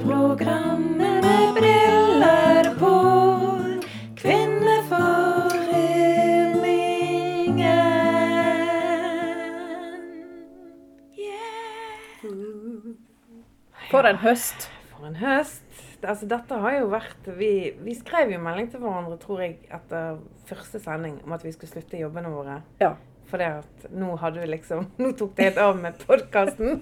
Radioprogrammet med briller på. Kvinneforeningen. Yeah. For en høst. For en høst. Altså, dette har jo vært vi, vi skrev jo melding til hverandre, tror jeg, etter første sending om at vi skulle slutte i jobbene våre. Ja. For det at nå hadde vi liksom Nå tok det helt av med podkasten.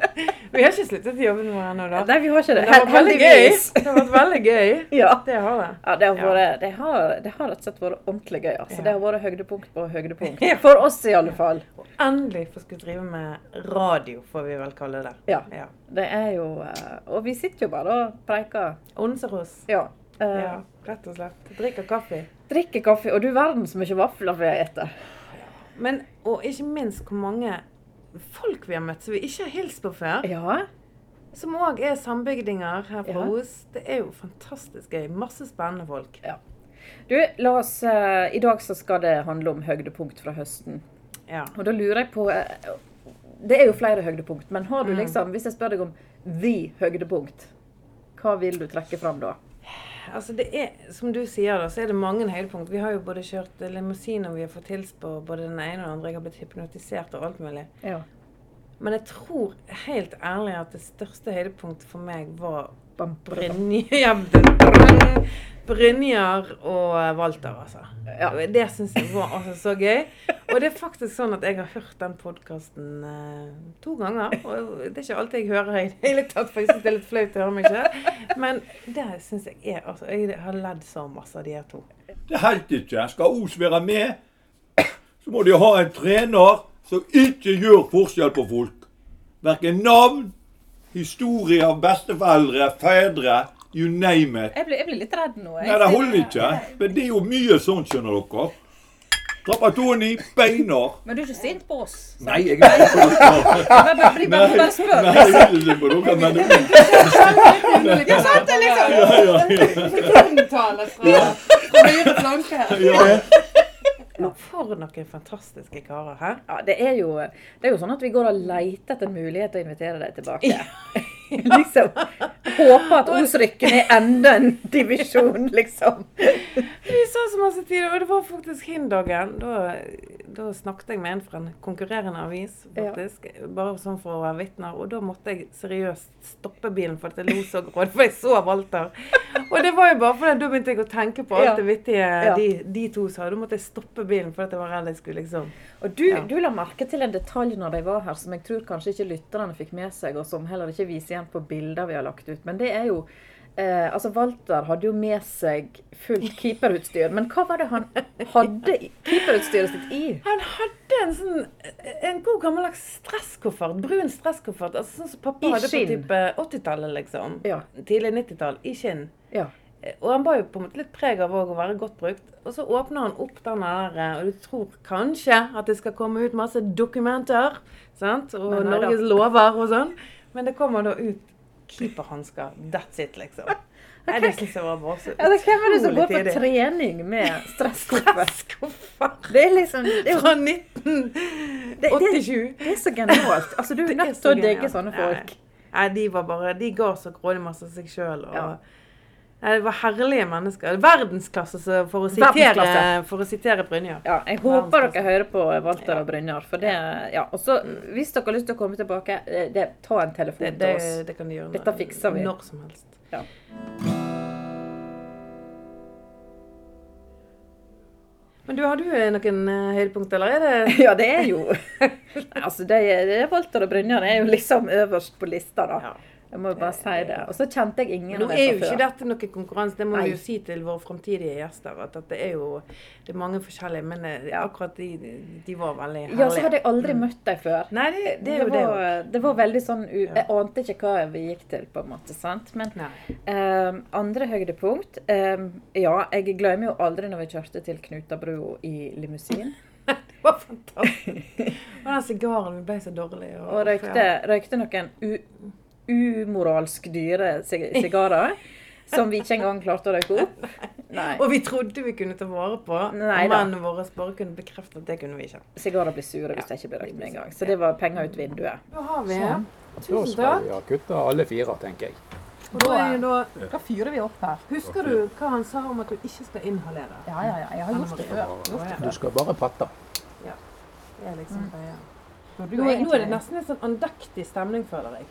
vi har ikke sluttet i jobbene våre ennå, da. Nei, vi har ikke det. Men det har vært veldig gøy. Heldigvis. Det har vært veldig gøy. Ja. Det har det. Ja, det har, Ja. vært, det, har, det har rett og slett vært ordentlig gøy. altså. Ja. Det har vært høydepunkt på høydepunkt. Ja. For oss i alle fall. Og endelig få skulle drive med radio, får vi vel kalle det. Ja. ja. Det er jo eh, Og vi sitter jo bare og preiker. Onser oss. Ja. eh, Ja, rett og slett. Drikker kaffe. Drikker kaffe. Og du verden så mye vafler vi spiser. Men, og ikke minst hvor mange folk vi har møtt som vi ikke har hilst på før. Ja. Som òg er sambygdinger her fra Ja. Os. Det er jo fantastisk gøy. Masse spennende folk. Du, la oss eh, I dag så skal det handle om høydepunkt fra høsten. Ja. Og da lurer jeg på eh, Det er jo flere høydepunkt, men har du Mm. liksom Hvis jeg spør deg om the høydepunkt, hva vil du trekke fram da? Altså det er, Som du sier, da, så er det mange høydepunkt. Vi har jo både kjørt eh, limousin, og vi har fått hilst på både den ene og den andre. Jeg har blitt hypnotisert og alt mulig. Ja. Men jeg tror helt ærlig at det største høydepunktet for meg var Bam, bam. Brynja, Bryn- Brynjar og Walter, altså. Ja. Det syns jeg var altså så gøy. Og det er faktisk sånn at jeg har hørt den podkasten eh, to ganger. Og det er ikke alltid jeg hører i det hele tatt, for jeg syns det er litt flaut å høre meg sjøl. Men det syns jeg er altså, Jeg har ledd så masse av de her to. Det holdt ikke. Skal Os være med, så må de ha en trener som ikke gjør forskjell på folk. Verken navn, historie av besteforeldre, fedre, you name it. Jeg blir, jeg blir litt redd nå. Nei, det holder ikke. Men det er jo mye sånn, skjønner dere. Trappatoni, beiner. Men du er ikke sint på oss? Nei, jeg er ikke på dere. Bare, bare, bare, Nei, bare spør. nei, jeg er ikke på dere, men det er Ja, sant, det er liksom ja, ja, omtale fra, fra høyre flanke her. ja, ja. For noen fantastiske karer her. Ja, det er, jo, det er jo sånn at vi går og leter etter mulighet til å invitere deg tilbake. Ja. liksom, Håper at Os rykker ned enda en divisjon, liksom. Vi så så masse tid, og det var faktisk hin-dagen. Da, da snakket jeg med en fra en konkurrerende avis, faktisk. Bare sånn for å være vitner. Og da måtte jeg seriøst stoppe bilen, for at jeg lo så grått, for jeg så Walter. Og det var jo bare fordi da begynte jeg å tenke på alt Ja. det vittige Ja. de, de to sa. Da måtte jeg stoppe bilen, for at jeg var redd jeg skulle liksom Og du, Ja. du la merke til en detalj når de var her, som jeg tror kanskje ikke lytterne fikk med seg, og som heller ikke viser igjen på bilder vi har lagt ut. Men det er jo eh, Altså, Walter hadde jo med seg fullt keeperutstyr, men hva var det han hadde i- keeperutstyret sitt i? Han hadde en sånn En god gammeldags stresskoffert. Brun stresskoffert. Altså sånn som pappa I hadde på skinn. type 80-tallet, liksom. Ja. Tidlig 90-tall. I skinn. Ja. Eh, Og han var jo på en måte litt preg av også å være godt brukt. Og så åpner han opp den der eh, Og du tror kanskje at det skal komme ut masse dokumenter sant? og Men nei da. Norges lover og sånn, men det kommer da ut keeperhansker. That's it, liksom. Nei, det syns jeg var bare så Ja, det Hvem er det som går på utrolig tidlig. trening med stresskoffert? Stresskoffert Det er liksom det er, jo- fra det, det, 1987. det er så genialt. Altså, du er Det er nødt så til å genialt. digge sånne folk. Nei, nei de var bare De ga så grådig masse av seg sjøl. Og... Ja. Nei, Det var herlige mennesker. Verdensklasse, så for å sitere, Verdensklasse. for å sitere Brynjar. Ja, jeg håper dere hører på Walter og Brynjar. For det, ja. Og så, hvis dere har lyst til å komme tilbake, eh, det, ta en Mm. Det, telefon det, til oss. det kan de gjøre Dette fikser vi. når som helst. Ja. Men du, har du eh, noen eh, høydepunkt, eller er det Ja, det er jo Nei, Altså, det, det er Walter og Brynjar er jo liksom øverst på lista, da. Ja. Jeg må jo bare si det. Og så kjente jeg ingen Nå av dem er jo fra ikke før. dette noen konkurranse, det må Nei. vi jo si til våre fremtidige gjester. At at det er jo det er mange forskjellige, men eh, akkurat de, de var veldig herlige. Ja, så hadde jeg aldri møtt dem før. Nei, det, Mm. det Det er jo det. var, det var veldig sånn u Ja. Jeg ante ikke hva vi gikk til, på en måte. sant? Men Nei. Ehm, andre høydepunkt ehm, Ja, jeg glemmer jo aldri når vi kjørte til Knutabro i limousin. Det var fantastisk. Og den sigaren ble så dårlig. Og røykte, røykte noen u umoralsk dyre sig sigarer. Som vi ikke engang klarte å røyke opp. Nei. Og vi trodde vi kunne ta vare på. Nei og da. mennene våre bare kunne bekrefte at det kunne vi ikke. Sigarer blir sure hvis de ikke blir røykt med en gang. Så det var penger ut vinduet. Da har vi Sånn. Tusen Da skal takk. vi ha kutta alle fire, tenker jeg. Og da er da, Da fyrer vi opp her. husker du hva han sa om at du ikke skal inhalere? Ja, ja, ja. Jeg har gjort det før. Gjort det Du før. skal bare patte. Det er liksom greia. Burde Nå jo er nå er det egentlig nesten en sånn andaktig stemning, føler jeg.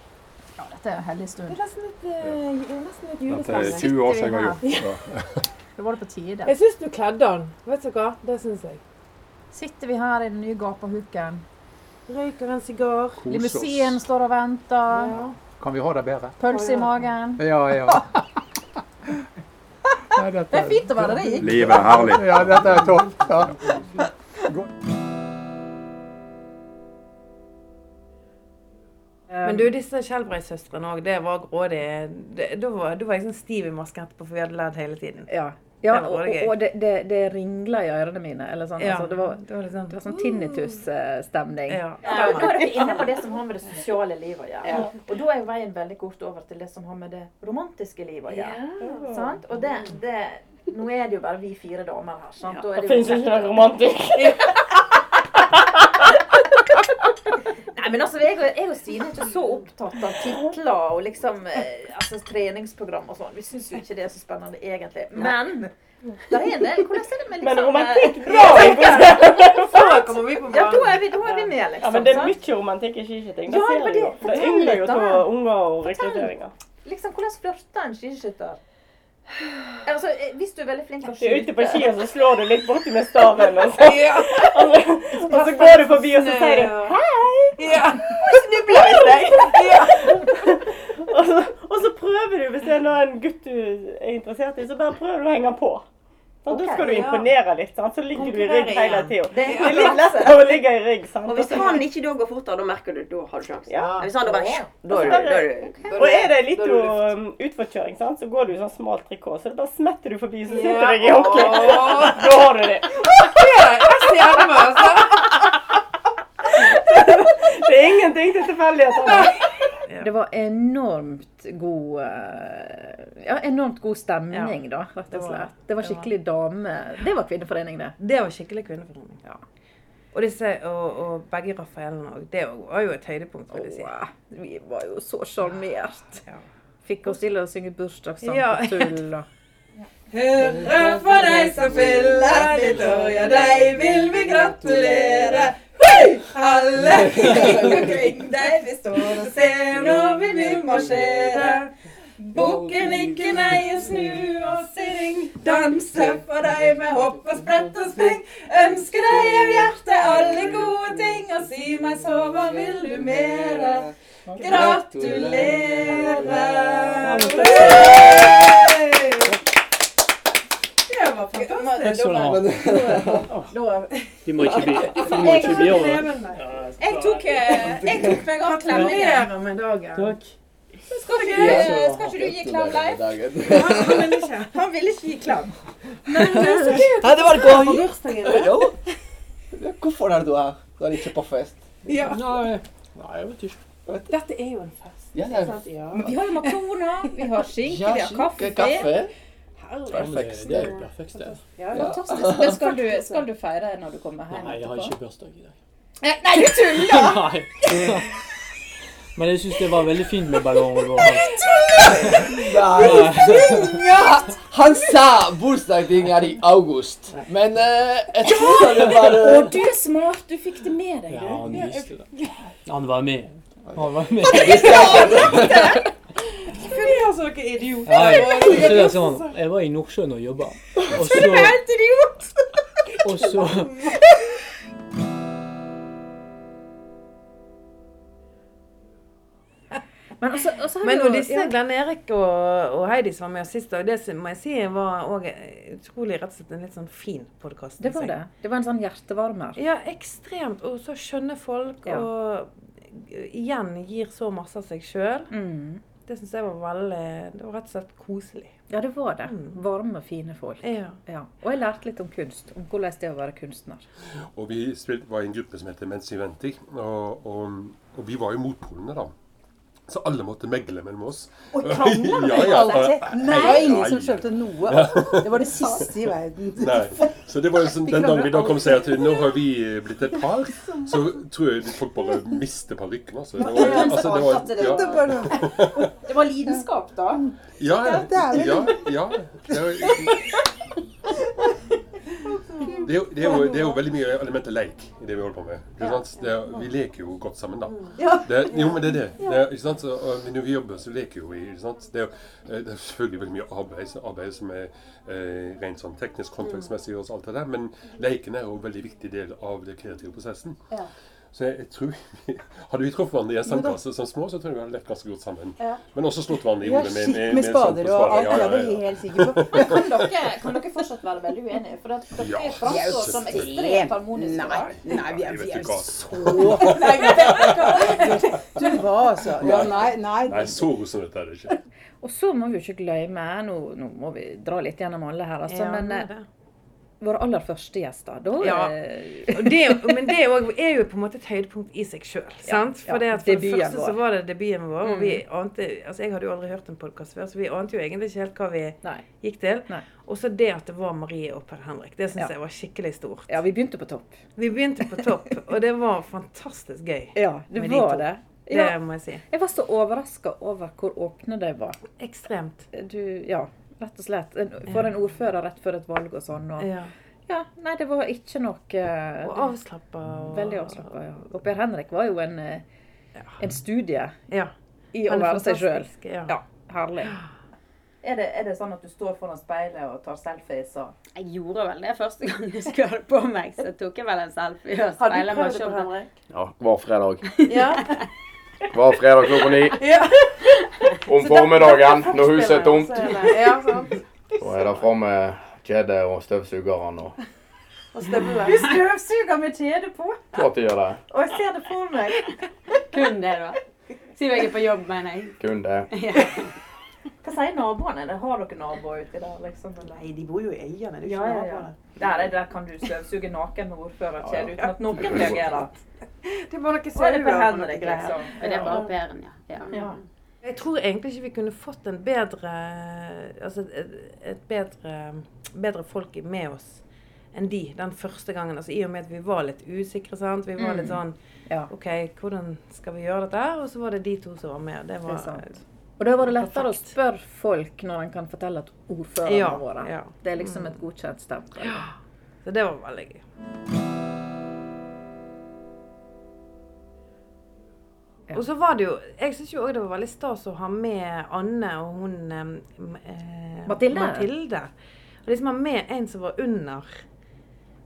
Ja, dette er en hellig Det stund. er nesten litt, eh, nesten litt Dette er julestemning. 20 år siden jeg har gjort det. Da var det på tide. Jeg syns du kledde han. Vet du hva? Det syns jeg. Sitter vi her i den nye gapahuken. Røyker en sigar. Kose Limousinen oss. står og venter. Ja. Kan vi ha det bedre? Pølse i magen. Ja, ja. Nei, dette, Det er fint å være rik. Livet er herlig. Ja, dette er topp. Ja. Eh, Men du, disse Skjelbreid-søstrene òg, det var grådig. Det- Da var, da var jeg sånn stiv i masken etterpå, for vi hadde lært hele tiden. Ja. ja Det var og og, gøy. og det, det, det ringla i ørene mine. Eller sånn. altså, det, var, det var litt sånn, det var sånn tinnitus-stemning. Ja. Ja, da er vi inne på det som har med det sosiale livet å gjøre. Og da er jo veien veldig kort over til det som har med det romantiske livet å gjøre. Sant? Og det, det, nå er det jo bare vi fire damer her. Sant? Da er det jo ikke noe romantikk. Nei, men altså, jeg, og- jeg og Stine er ikke så opptatt av titler og liksom, eh, altså, treningsprogram og sånn. Vi syns jo ikke det er så spennende egentlig. Men der er en del. Hvordan er det med liksom eh, Men romantikk drar jeg på sted. Da kommer vi på Ja, da banen. er vi, da er vi med, liksom. Ja, men det er sant? mye romantikk i skiskyting. Ja, Det men ser jeg det- jo. Det fortell yngler jo litt, da. av unger og Fortell. rekrutteringer. Liksom, Hvordan flørter en skiskytter? Altså, eh, hvis du er veldig flink til å Du er ute på ski, skyte og så slår du litt borti med staven, og så, og så, og så går du forbi, og så sier du Ja. Altså, og så, og så prøver du, hvis det er noe en gutt du er interessert i, så bare prøver du å henge på. Sånn, da skal du ja. imponere litt, sant? så ligger du i rygg Konkurrere hele igjen. tida. Det Det er er litt lettere å ligge i rygg. sant? Og hvis han ikke da går fortere, da merker du da har du sjansen. Ja. Men Hvis sånn han da bare Da er du- da er du Og er det litt jo, um, utforkjøring, sant? så går du i sånn smal trikot, så det bare smetter du forbi, så sitter du deg i håndkleet. Da har du det. altså. Det er ingenting til tilfeldighetene. Det var enormt god eh, Ja, enormt god stemning, da, rett det og var det. slett. Det var Det var- skikkelig dame... Det var kvinneforening, det. Det var skikkelig kvinneforening. Og, disse, og, og begge Raffaellene òg. Det også var jo et høydepunkt. vil jeg si. Åh, vi var jo så sjarmert. Ja. Fikk oss til å synge bursdagssang Ja. på tull. og- Hurra for deg som fyller ditt år, ja deg vil vi gratulere. Hei! Alle omkring deg, vi står og ser når vi vil marsjere. Bukken ikke nei og snu oss i ring. Danse for deg med hopp og sprett og spring. Ønske deg av hjertet alle gode ting, og si meg så, hva vil du mere? Gratulerer! Det var fantastisk. Du må ikke bli, du må ikke bli over. Jeg tok, eh, jeg tok meg av klemmingen. Gratulerer med dagen. Takk. Skal ikke du, eh, skal ikke du gi klem, Leif? Han, han ville ikke. Han ville ikke gi klem. eh, Nei, det var det På gøy. bursdagen. Jo. Hvorfor er det du er? Du er ikke på fest. Ja. Nei, Nei, jeg vet ikke. Dette er jo en fest. Ja, det er Ja. Men vi har jo makroner, vi har skinke, vi ja, har kaffe. skikke kaffe. Ja, men Det Perfekt. det er jo perfekt sted. Fantastisk. Men skal du, skal du feire når du kommer hjem? Nei, jeg har etterpå? ikke bursdag i dag. Eh, Nei, du tuller! Nei. Men jeg syns det var veldig fint med ballonger. og alt. Nei. Han sa bursdagen er i august, men eh, jeg trodde det var Å, eh, du er smart, du fikk det med deg. Ja, du. han visste det. Han var med. Han var med. Vi er altså noen idioter. Nei, ikke det sånn. Jeg var i Nordsjøen og jobba. Og så Helt idiot! Og så Men altså, altså har Men vi jo- og disse ja. Glenn Erik og, og Heidi som var med oss sist, og det som- må jeg si var òg utrolig rett og slett en litt sånn fin podkast. Det var det. Det var en sånn hjertevarmer. Ja, ekstremt. Og så skjønner folk, Ja. og igjen gir så masse av seg sjøl. Mm. Det syns jeg var veldig Det var rett og slett koselig. Ja, det var det. Mm. Eh. Varme, fine folk. Ja. Ja. Og jeg lærte litt om kunst. Om hvordan det er å være kunstner. Og vi spilte, var i en gruppe som heter Mens vi venter. Og, og, og vi var jo motpolene, da. Så alle måtte megle mellom oss. Og krangler med Ja, ja, alle. ja. Nei, det var ingen som Nei. skjønte noe. Ja. Det var det siste i verden. Nei. Så det var jo sånn, Vi Den klarer dagen vi da kom aldri. og sier at nå har vi blitt et par, så tror jeg folk bare mister parykken. Altså. Det var, altså, det var, ja, Det var lidenskap, da. ja, ja, ja. Det er jo- Det er, jo, det, er jo, det er jo veldig mye elementet leik i det vi holder på med. Ikke sant? Det er, vi leker jo godt sammen, da. Ja. Det, jo, men det er det. det er, ikke sant? Så, og når vi jobber, så leker jo vi. Ikke sant? Det, er, jo- eh, det er selvfølgelig veldig mye arbeid, så arbeid som er eh, rent sånn teknisk, håndverksmessig og alt det der, men leken er jo en veldig viktig del av den kreative prosessen. Ja. Så jeg, jeg tror vi, Hadde vi truffet hverandre i en Jo da. sandkasse som små, så tror jeg vi hadde lett ganske godt sammen. Ja. Men også slått hverandre i Ja, hodet med, shit, med, med sånn- spader og alt. Ja, ja, Ja, det ja. er jeg helt sikker på. Men kan dere, kan dere fortsatt være veldig uenige? For at dere Ja, framstår som ekstremt harmoniske. Nei, nei, vi er, vi Vet er du hva? så Nei, Du var altså Ja, nei, nei. Nei, så god som dette er det ikke. Og så må vi jo ikke glemme Nå, nå må vi dra litt gjennom alle her, altså. Ja, men det er eh, våre aller første gjester, da Ja. eh, Og det, men det er jo- er jo på en måte et høydepunkt i seg sjøl. sant? ja. For, det, at for det Debuten første vår. så var det debuten vår. og Mm. vi ante, altså Jeg hadde jo aldri hørt en podkast før, så vi ante jo egentlig ikke helt hva vi gikk til. Og så det at det var Marie og Per Henrik. Det syns Ja. jeg var skikkelig stort. Ja, vi begynte på topp. Vi begynte på topp, og det var fantastisk gøy. Ja, det med var to. det. Det Ja. må jeg si. Jeg var så overraska over hvor åpne de var. Ekstremt. Du, ja, rett og slett. En- For en ordfører rett før et valg og sånn. Og, Ja. Ja, nei, det var ikke noe eh, Og avslappa. og- Veldig avslappa, ja. Og Per Henrik var jo en, eh, en studie i å Han er være seg sjøl. fantastisk, Ja. ja. herlig. Er det, er det sånn at du står foran speilet og tar selfies og Jeg gjorde vel det første gang jeg skulle ha det på meg, så tok jeg vel en selfie og Har du speilet prøvd det på Henrik? Ja, hver fredag. Ja. Hver fredag klokka ni. Ja. Om formiddagen, når huset er tomt. Ja, sant. Da er det framme kjedet og støvsugeren og Og støvler. Du støvsuger med kjede på, klart de gjør det. og jeg ser det for meg. Kun det, da. Siden jeg er på jobb, mener jeg. Kun det. Ja. Hva sier naboene? Det Har dere naboer uti der? Liksom? Nei, de bor jo i Øyene. er jo ikke naboer. Der, er- der kan du støvsuge naken med ordførerkjede uten at noen Ja. reagerer. Det var noe Å, er det Per seriøst, Henrik, noe liksom? greier. Er det bare Ja. Per-en, ja? Ja. Ja. Jeg tror egentlig ikke vi kunne fått en bedre Altså et, et bedre, bedre folk i- med oss enn de den første gangen. Altså I og med at vi var litt usikre. sant? Vi var Mm. litt sånn OK, hvordan skal vi gjøre dette? her? Og så var det de to som var med. Det var Det er sant. Og da var det lettere å spørre folk når en kan fortelle at ordførerne Ja, våre ja. Det er liksom et godkjent stempel. Så det var veldig gøy. Og så var det jo Jeg syns jo òg det var veldig stas å ha med Anne og hun eh, Mathilde. Mathilde. Og liksom ha med en som var under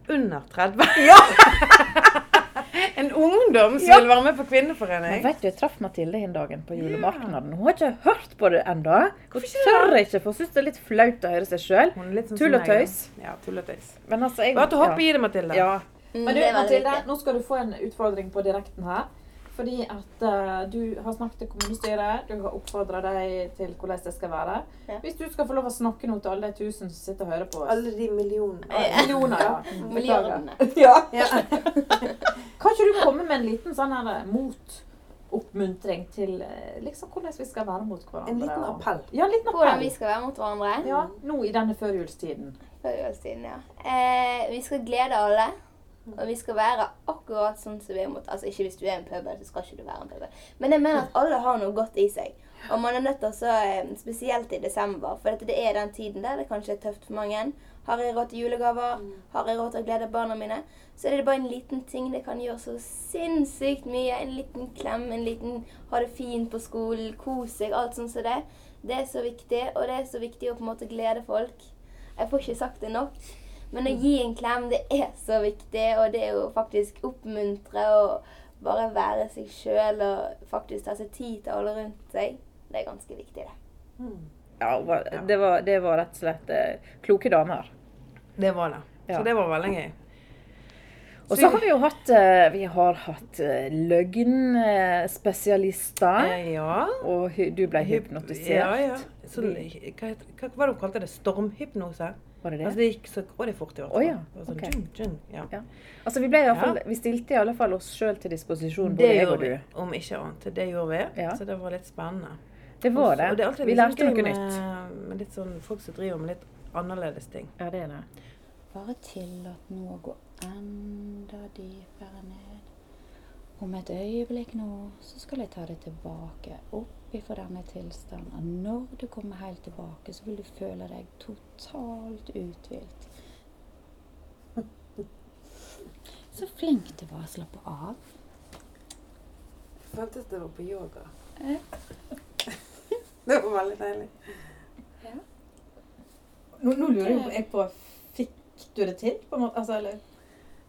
under 30. en ungdom som Ja. ville være med på Men kvinneforening. vet du, Jeg traff Mathilde den dagen på julemarknaden. Hun har ikke hørt på det ennå. Hun tør ikke, for hun syns det er litt flaut å høre seg sjøl. Tull og Sånn som jeg er. tøys. Ja, tull og tøys. Men altså, jeg Bare til å hoppe i det, Mathilde. Ja. Men du, Det er veldig Mathilde, viktig. nå skal du få en utfordring på direkten her. Fordi at eh, du har snakket til kommunestyret, du har oppfordra dem til hvordan det skal være. Hvis du skal få lov å snakke nå til alle de tusen som sitter og hører på oss. Alle de millionene. Ja, Millioner, ja. Beklager. Milliardene. Ja. Kan ikke du komme med en liten sånn her motoppmuntring til eh, liksom hvordan vi skal være mot hverandre? En liten og- appell. Ja, en liten appell. Hvordan vi skal være mot hverandre. Ja, nå i denne førjulstiden. Førjulstiden, ja. Eh, vi skal glede alle. Og vi skal være akkurat sånn som vi er mot Altså ikke hvis du er en pøbel, så skal ikke du være en pøbel. Men jeg mener at alle har noe godt i seg. Og man er nødt til å så, eh, Spesielt i desember, for dette, det er den tiden der det kanskje er tøft for mange. Har jeg råd til julegaver? Har jeg råd til å glede barna mine? Så er det bare en liten ting det kan gjøre så sinnssykt mye. En liten klem, en liten ha det fint på skolen, kos deg, alt sånn som det. Det er så viktig, og det er så viktig å på en måte glede folk. Jeg får ikke sagt det nok. Men å gi en klem, det er så viktig, og det er jo faktisk oppmuntre og bare være seg sjøl og faktisk ta seg tid til alle rundt seg. Det er ganske viktig, det. Ja, hun var- det var, det var rett og slett eh, kloke damer. Det var det. Ja. Så det var veldig gøy. Og så har vi jo hatt eh, Vi har hatt eh, løgnspesialister. Eh, ja. Og hy- du ble hypnotisert. Ja, ja. Sånn, hva, het- hva var det hun kalte det? Stormhypnose? Var det det? Altså, det gikk så grådig fort i hvert fall. Å ja, Det var sånn, ok. djung, djung, ja. Altså, vi, ble i alle Ja. fall, vi stilte i alle fall oss sjøl til disposisjon, Det både jeg og gjorde du. vi, om ikke annet. Det gjorde vi, så det var litt spennende. Det var Og så- det. Og det er alltid Vi litt sånn lærte noe gøy med, nytt. Med litt sånn folk som driver med litt annerledes ting. Ja, det er det. Bare tillat noe å gå enda dypere ned. Om et øyeblikk nå, så skal jeg ta deg tilbake opp ifra denne tilstanden. Og når du kommer helt tilbake, så vil du føle deg totalt uthvilt. Så flink du var å slappe av. Føltes det var på yoga. Eh? Ja. Det var veldig deilig. Nå, nå lurer jo jeg på Fikk du det til, på en måte? Altså, eller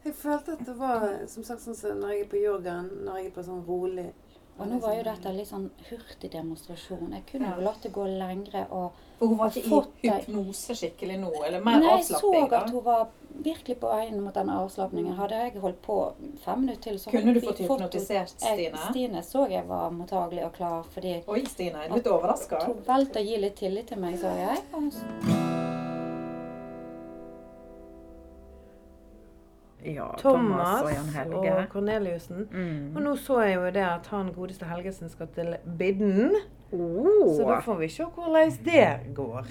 Jeg følte at det var som sagt sånn som når jeg er på yogaen, når jeg er på sånn rolig Og nå var jo dette litt sånn hurtig demonstrasjon. Jeg kunne jo latt det gå lengre og For hun var ikke fått i deg- hypnose skikkelig nå? Eller mer Nei, jeg så avslapping? da? at hun var virkelig på veien mot den avslapningen. Hadde jeg holdt på fem minutter til, så Kunne hadde du vi fått hypnotisert jeg- Stine? Stine så jeg var mottagelig og klar, fordi Oi, Stine, jeg er litt overrasket. Hun valgte å gi litt tillit til meg, så jeg. og så- Ja, Thomas og Jan Helge. og Corneliussen. Mm. Og nå så jeg jo det at han godeste Helgesen skal til Bidden. Oh. Så da får vi se hvordan det går.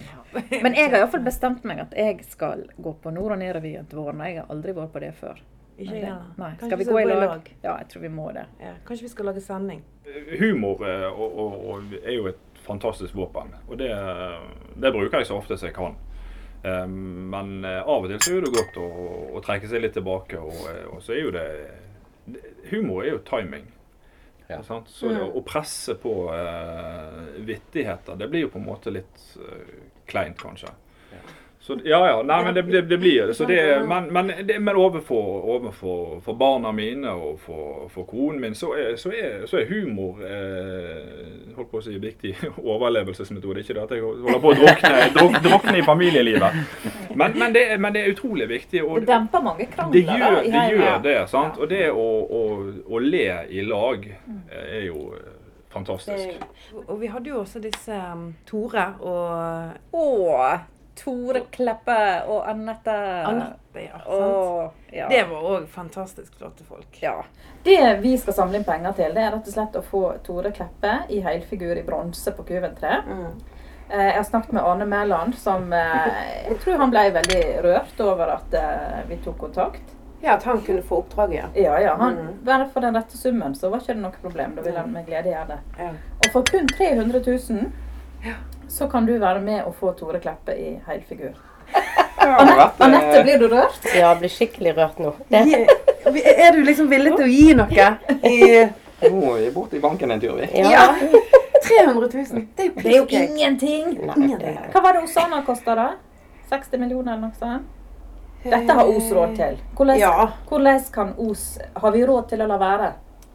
Men jeg har iallfall bestemt meg at jeg skal gå på Nord- og Ned-revyen til våren. og Jeg har aldri vært på det før. Ikke Men jeg det- heller. Nei. Kanskje Skal vi vi skal gå i gå i lag? Ja, jeg tror vi må det. Ja, kanskje vi skal lage sending. Humor eh, og, og, og er jo et fantastisk våpen, og det, det bruker jeg så ofte som jeg kan. Eh, Men eh, av og til så er det godt å, å trekke seg litt tilbake, og, eh, og så er jo det det- Humor er jo timing. Sant? Så det, å- å presse på eh, vittigheter, det blir jo på en måte litt eh, kleint, kanskje. Så, ja, ja. Nei, men det, det, det blir det. Så det men men, det, men overfor, overfor for barna mine og for, for konen min, så er, så er, så er humor eh, holdt på å si, viktig overlevelsesmetode. Ikke det at jeg holder på å drukne, druk, drukne i familielivet. Men, men, det, er- men det er utrolig viktig. Og, Det demper mange krangler. det gjør da, i det, heimen. gjør det sant? Og det å, å, å le i lag eh, er jo eh, fantastisk. Og- Og vi hadde jo også disse um, Tore og Å, Tore Kleppe og Anette. Anette, ja. Å, Sant? ja. Det var òg fantastisk flotte folk. Ja. Det vi skal samle inn penger til, det er rett og slett å få Tore Kleppe i helfigur i bronse på Kuventre. Mm. Eh, Jeg har snakket med Arne Mæland, som eh, jeg tror han ble veldig rørt over at eh, vi tok kontakt. Ja, at han kunne få oppdraget. Ja, ja. Mm. Han, bare for den rette summen, så var ikke det noe problem. Da ville han med glede gjøre det. Og for kun 300 000, så kan du være med og få Tore Kleppe i helfigur. Anette, Anette, blir du rørt? Ja, jeg blir skikkelig rørt nå. Er du liksom villig til å gi noe? Nå må vi bort i banken en tur, vi. Ja. 300 000. Det er jo, Det er jo ingenting! Ingenting. Hva var det Osana kosta, da? 60 millioner eller noe sånt? Dette har Os råd til. Hvordan, Ja. hvordan kan Os Har vi råd til å la være?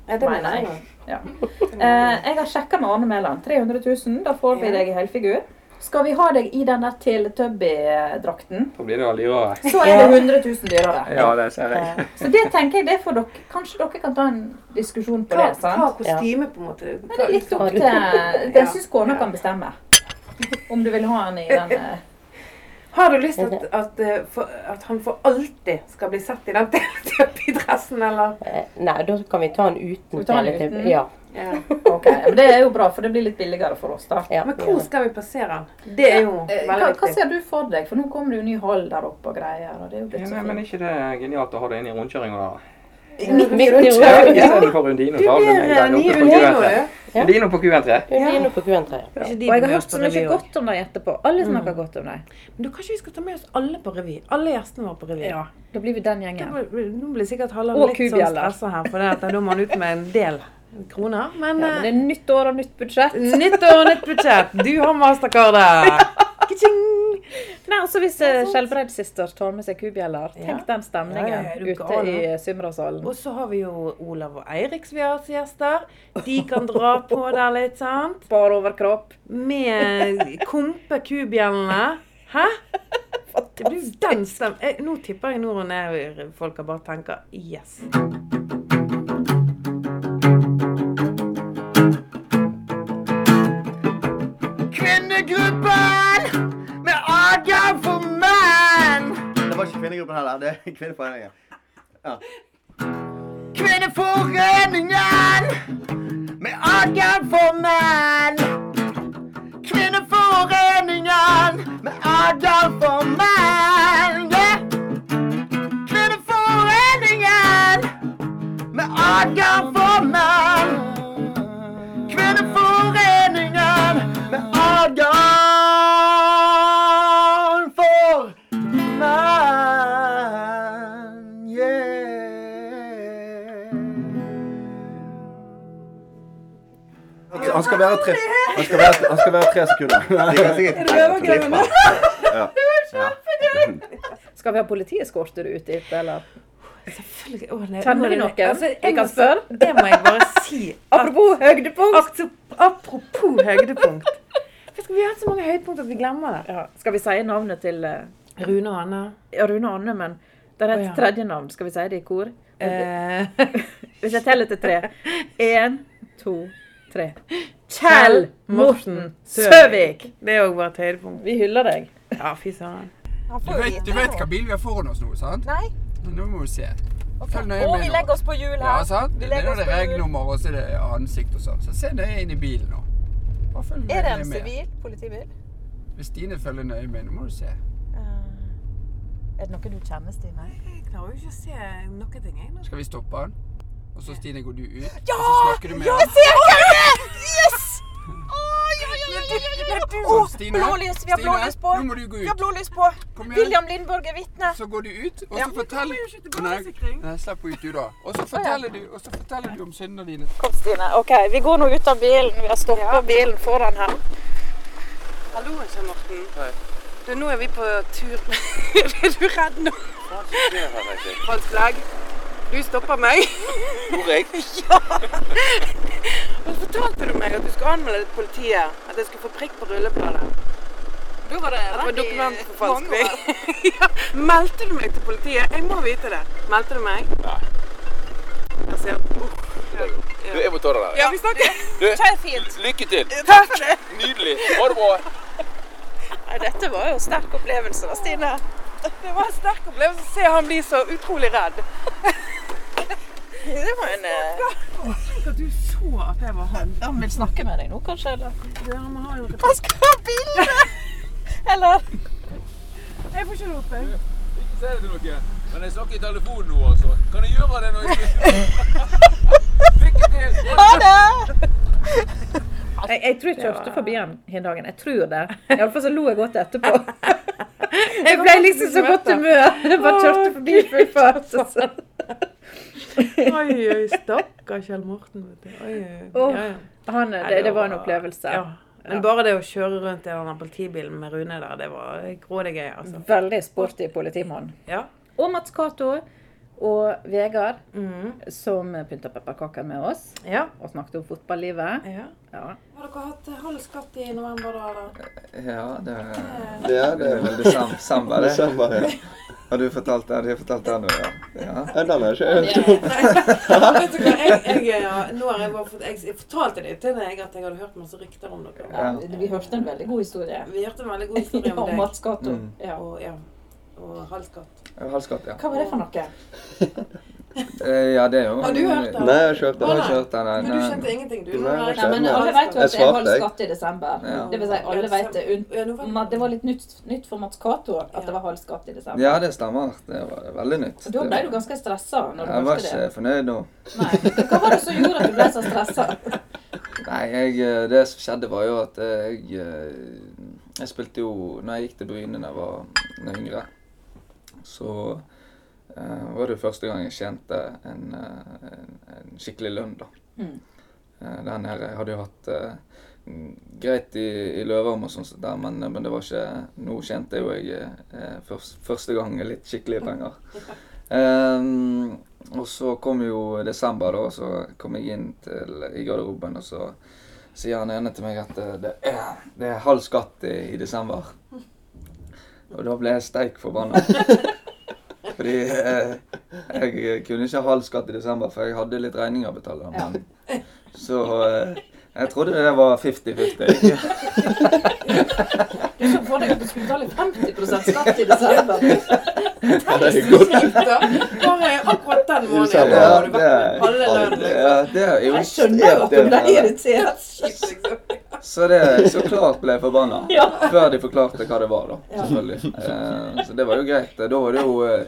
Ja, det må Mener jeg jeg. Ja. Eh, jeg har sjekka med Arne Mæland. 300 000, da får vi deg i helfigur. Skal vi ha deg i den der Teletubby-drakten, Da blir det veldig rart. så er det 100 000 dyrere. Ja, det ser jeg. Så det tenker jeg, det får dere, Kanskje dere kan ta en diskusjon på Hva- det? sant? hva kostyme, på en måte? Men det er litt opp til Jeg syns kona kan bestemme om du vil ha den i den eh, Har du lyst til at, at, eh, for, at han for alltid skal bli sett i den teletubby-dressen, eller? Nei, da kan vi ta Skal vi den uten ta den Teletubby. uten? Ja. Ok, men Det er jo bra, for det blir litt billigere for oss. da. Men hvor skal vi plassere den? Det er jo Eh, veldig hva, hva viktig. ser du for deg? For nå kommer det jo ny hall der oppe og greier. og det er jo blitt Ja, så nei, men fint. ikke det er genialt å ha det inn i rundkjøringa da? Midt i Ja, eh, rundkjøringen? I stedet for Undino, så har vi den der oppe på Q3. Undino på Q3. Undino på Q3. Og de jeg har vi Mm. hørt gjør så på mye revy godt om dem etterpå. Alle snakker godt om dem. Men du, kanskje vi skal ta med oss alle på revy? Alle gjestene våre på revy? Ja, Da blir vi den Da gjengen. blir- blir- Nå blir sikkert Halland Og litt sånn kubjeller. stressa her, for det at da må han ut med en del kroner. Men, Ja, men det er nytt år og nytt budsjett. Nytt år og nytt budsjett. Du har mastercardet. Nei, også Hvis eh, Skjelbreid sister tar med seg kubjeller, tenk den stemningen Ja, ja, er du ute gal, i da? Symrasalen. Og så har vi jo Olav og Eirik som vi har som gjester. De kan dra på der litt, sant? Bar overkropp. Med kompe kubjellene. Hæ? Du, den stem... Eh, Nå tipper jeg nord og ned-folka bare tenker yes. Kvinnegruppen med Adam for meg. kvinnegruppen heller. Det er kvinneforeningen. Ja. Kvinneforeningen med Adrian for menn. Kvinneforeningen med Adrian for menn. Yeah. Kvinneforeningen med Adrian for menn. Kvinneforeningen med Adrian for menn. Yeah. Ok, han skal være tre, han skal være, han skal være tre sekunder. De kan sikkert Røvergrøvene. Ja. Skal vi ha politieskorter ut dit, eller? Selvfølgelig. Å, nei, nå Kjenner er vi det- noen Altså, vi jeg må- kan spørre? Det må jeg bare si. apropos høydepunkt. Apropos høydepunkt. Vet du, Vi har hatt så mange høydepunkt at vi glemmer det. Skal vi si navnet til eh, Rune og Anne. Ja, Rune og Anne, men det er Å, et ja. tredje navn. Skal vi si det i kor? Eh. Hvis jeg teller til tre. Én, to, tre. Kjell Morten Søvik! Det er òg bare et høydepunkt. Vi hyller deg. Ja, fy søren. Du vet, du vet hva bil vi har foran oss nå, sant? Nei. Nå må du se. Følg nøye Og vi med nå. legger oss på hjul her. Ja, sant? Vi Det legger er oss det på hjul. regnummer, og så er det ansikt og sånn. Så se nøye inn i bilen nå. Bare følg Er det nøye en med. sivil politibil? Hvis Stine følger nøye med, nå må du se. Eh, Er det noe du kjenner, Stine? Jeg klarer jo ikke å se noen ting, jeg. Skal vi stoppe han? Og så Stine, går du ut? Ja! Og så snakker du med Ja, han. jeg ser hva det er! Yes! Sånn, Åh, Stine. blålys! Vi har Stine, blålys på. nå må du gå ut. Vi har blålys på. igjen. William Lindborg er vitne. Så går du ut, og Ja, så men fortell... du kommer jo ikke til Nei, barnesikring. Nei, slapp ut du da. Og så Å, ja. forteller du, og så forteller du om syndene dine. Kom, Stine. OK, vi går nå ut av bilen. Vi har stoppa bilen foran her. Hallo, Kjell Morten. Du, nå er vi på tur. er du redd nå? Falskt flagg. Du stopper meg. Gjorde jeg? ja! Og fortalte du meg at du skulle anmelde det til politiet? At jeg skulle få prikk på rullebladet? Da var det At det var rett i dokumentforfalskning? ja. Meldte du meg til politiet? Jeg må vite det. Meldte du meg? Nei. Jeg ser Uff, Du, jeg må ta det der. Ja, vi snakker. Du, Kjør fint. lykke til. Takk for det. Nydelig. Ha det bra. Nei, Dette var jo en sterk opplevelse da, Stine. Det var en sterk opplevelse å se han bli så utrolig redd. Det var en eh, Tenk at du så at jeg var han. Han vil snakke med deg nå, kanskje? Eller? Ja, men har jo Han skal ha bilde! Eller? Jeg får ikke lov til Ikke si det til noen, men jeg snakker i telefonen nå, altså. Kan jeg gjøre det når jeg Lykke til! Ha det! Jeg, jeg tror jeg kjørte forbi han den dagen. Jeg tror det. Iallfall så lo jeg godt etterpå. Jeg ble liksom så godt humør. Jeg bare kjørte forbi i full fart. og så- Oi, oi, stakkar Kjell Morten. Vet du. Oi, oi. Åh, Ja, ja. han, Nei, det, det var en opplevelse. Ja. Men bare det å kjøre rundt i den politibilen med Rune der, det var grådig gøy, altså. Veldig sporty politimann. Ja. Og Mats Cato og Vegard, Mm. som pynta pepperkaker med oss. Og snakket om fotballivet. Ja. Har dere hatt halv skatt i november, da? eller? Ja, det er, Det er det. vel desem- desember, det. Desember, ja. Har du fortalt den? Har du fortalt den òg, ja? Ja, den har jeg ikke hørt Vet du hva, jeg, jeg, ja, nå har jeg, bare fått, jeg, jeg fortalte det til deg at jeg hadde hørt masse rykter om dere. Ja, vi hørte en veldig god historie. Vi hørte en veldig god historie om Ja, om deg. Mats Cato. Mm. Og, ja. og halv skatt. Ja, Halv skatt, ja. Hva var det for noe? Eh, Ja, det er jo Har du hørt den? Nei, jeg har ikke hørt den. Å, Jeg har ikke hørt den, nei. Men du kjente ingenting, du? Nei, jeg har ikke Nei, hørt men den. alle vet jo at Jeg det er halv svarte, jeg. skatt i desember. Ja. Det vil si, alle vet det. unt- Ma- Det var litt nytt, nytt for Mats Cato at det var halv skatt i desember. Ja, det stemmer. Det var veldig nytt. Så da ble du ganske stressa når du Jeg var hørte det. ikke fornøyd nå. Hva var det som gjorde at du ble så stressa? Nei, jeg, eh, det som skjedde var jo at eh, jeg eh, Jeg spilte jo Når jeg gikk til Bryne da jeg var da jeg var yngre, så eh, var det jo første gang jeg tjente en, eh, en, en skikkelig lønn, da. Mm. Eh, Der nede jeg hadde jo hatt eh, greit i, i Løvearm og sånn, som der, men, men det var ikke Nå tjente jo jeg eh, først, første gang litt skikkelige penger. Ehm, og så kom jo desember, da, og så kom jeg inn til, i garderoben, og så sier han ene til meg at eh, det er, det er halv skatt i, i desember. Og da ble jeg steik forbanna. Fordi eh, jeg kunne ikke ha halv skatt i desember, for jeg hadde litt regninger å betale. Men, Så eh, jeg trodde det var 50-50. Du så for deg at du skulle betale 50 skatt i desember. Kjipt, da. Bare akkurat den måneden. da har du vært med halve lønnen, Ja, liksom. det er jo Jeg skjønner jo at du ble irritert. liksom. Så, det, så klart ble jeg forbanna. Ja. Før de forklarte hva det var, da. Ja. Selvfølgelig. Eh, Så det var jo greit. Da var det jo eh,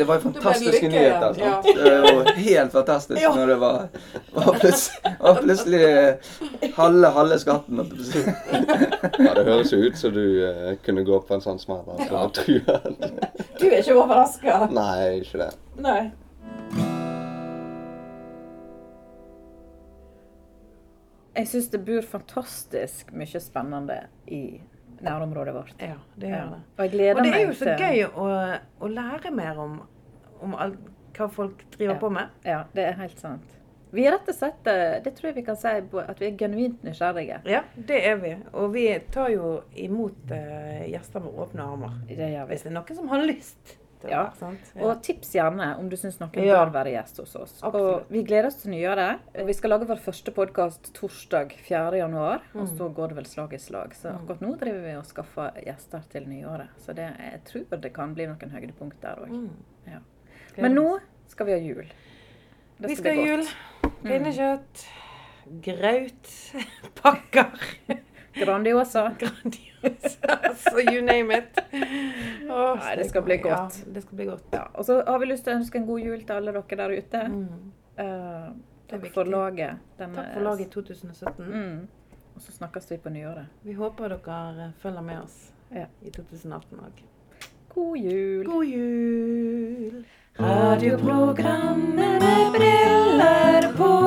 Det var jo fantastiske lykke, ja. nyheter. sant? Ja. Det var helt fantastisk Ja. når det var, var, plutselig, var plutselig eh, halve, halve skatten. holdt jeg på å si. Ja, det høres jo ut som du eh, kunne gå på en sånn smell. Altså, Ja. True. Du er ikke overraska? Nei, ikke det. Nei. Jeg syns det bor fantastisk mye spennende i nærområdet vårt. Ja, det gjør det. Og jeg gleder Og det meg er jo så til- gøy å, å lære mer om, om alt, hva folk driver Ja. på med. Ja, det er helt sant. Vi er rett og slett eh, Det tror jeg vi kan si bo- at vi er genuint nysgjerrige. Ja, det er vi. Og vi tar jo imot eh, gjester med åpne armer. Hvis det er noen som har lyst til Ja. det. Sant? Og tips gjerne om du syns noen Ja. bør være gjest hos oss. Absolutt. Og vi gleder oss til nyere. Vi skal lage vår første podkast torsdag 4. januar. Og Mm. så går det vel slag i slag. Så akkurat nå driver vi og skaffer gjester til nyåret. Så det, jeg tror det kan bli noen høydepunkt der òg. Mm. Ja. Men Gleder nå skal vi ha jul. Det bli Vi skal ha jul. godt. Mm. Pinnekjøtt. Graut. Pakker. Grandiosa. Grandiosa. Så Altså, you name it. Åh, Nei, det skal bli godt. Ja, det skal bli godt. Ja, og så har vi lyst til å ønske en god jul til alle dere der ute. Eh, Mm. er takk for viktig. laget. denne- Takk for laget i 2017. Mm. Og så snakkes vi på nyåret. Vi håper dere følger med oss Ja. i 2018 òg. God jul. God jul. Radioprogrammet med briller på. Mm.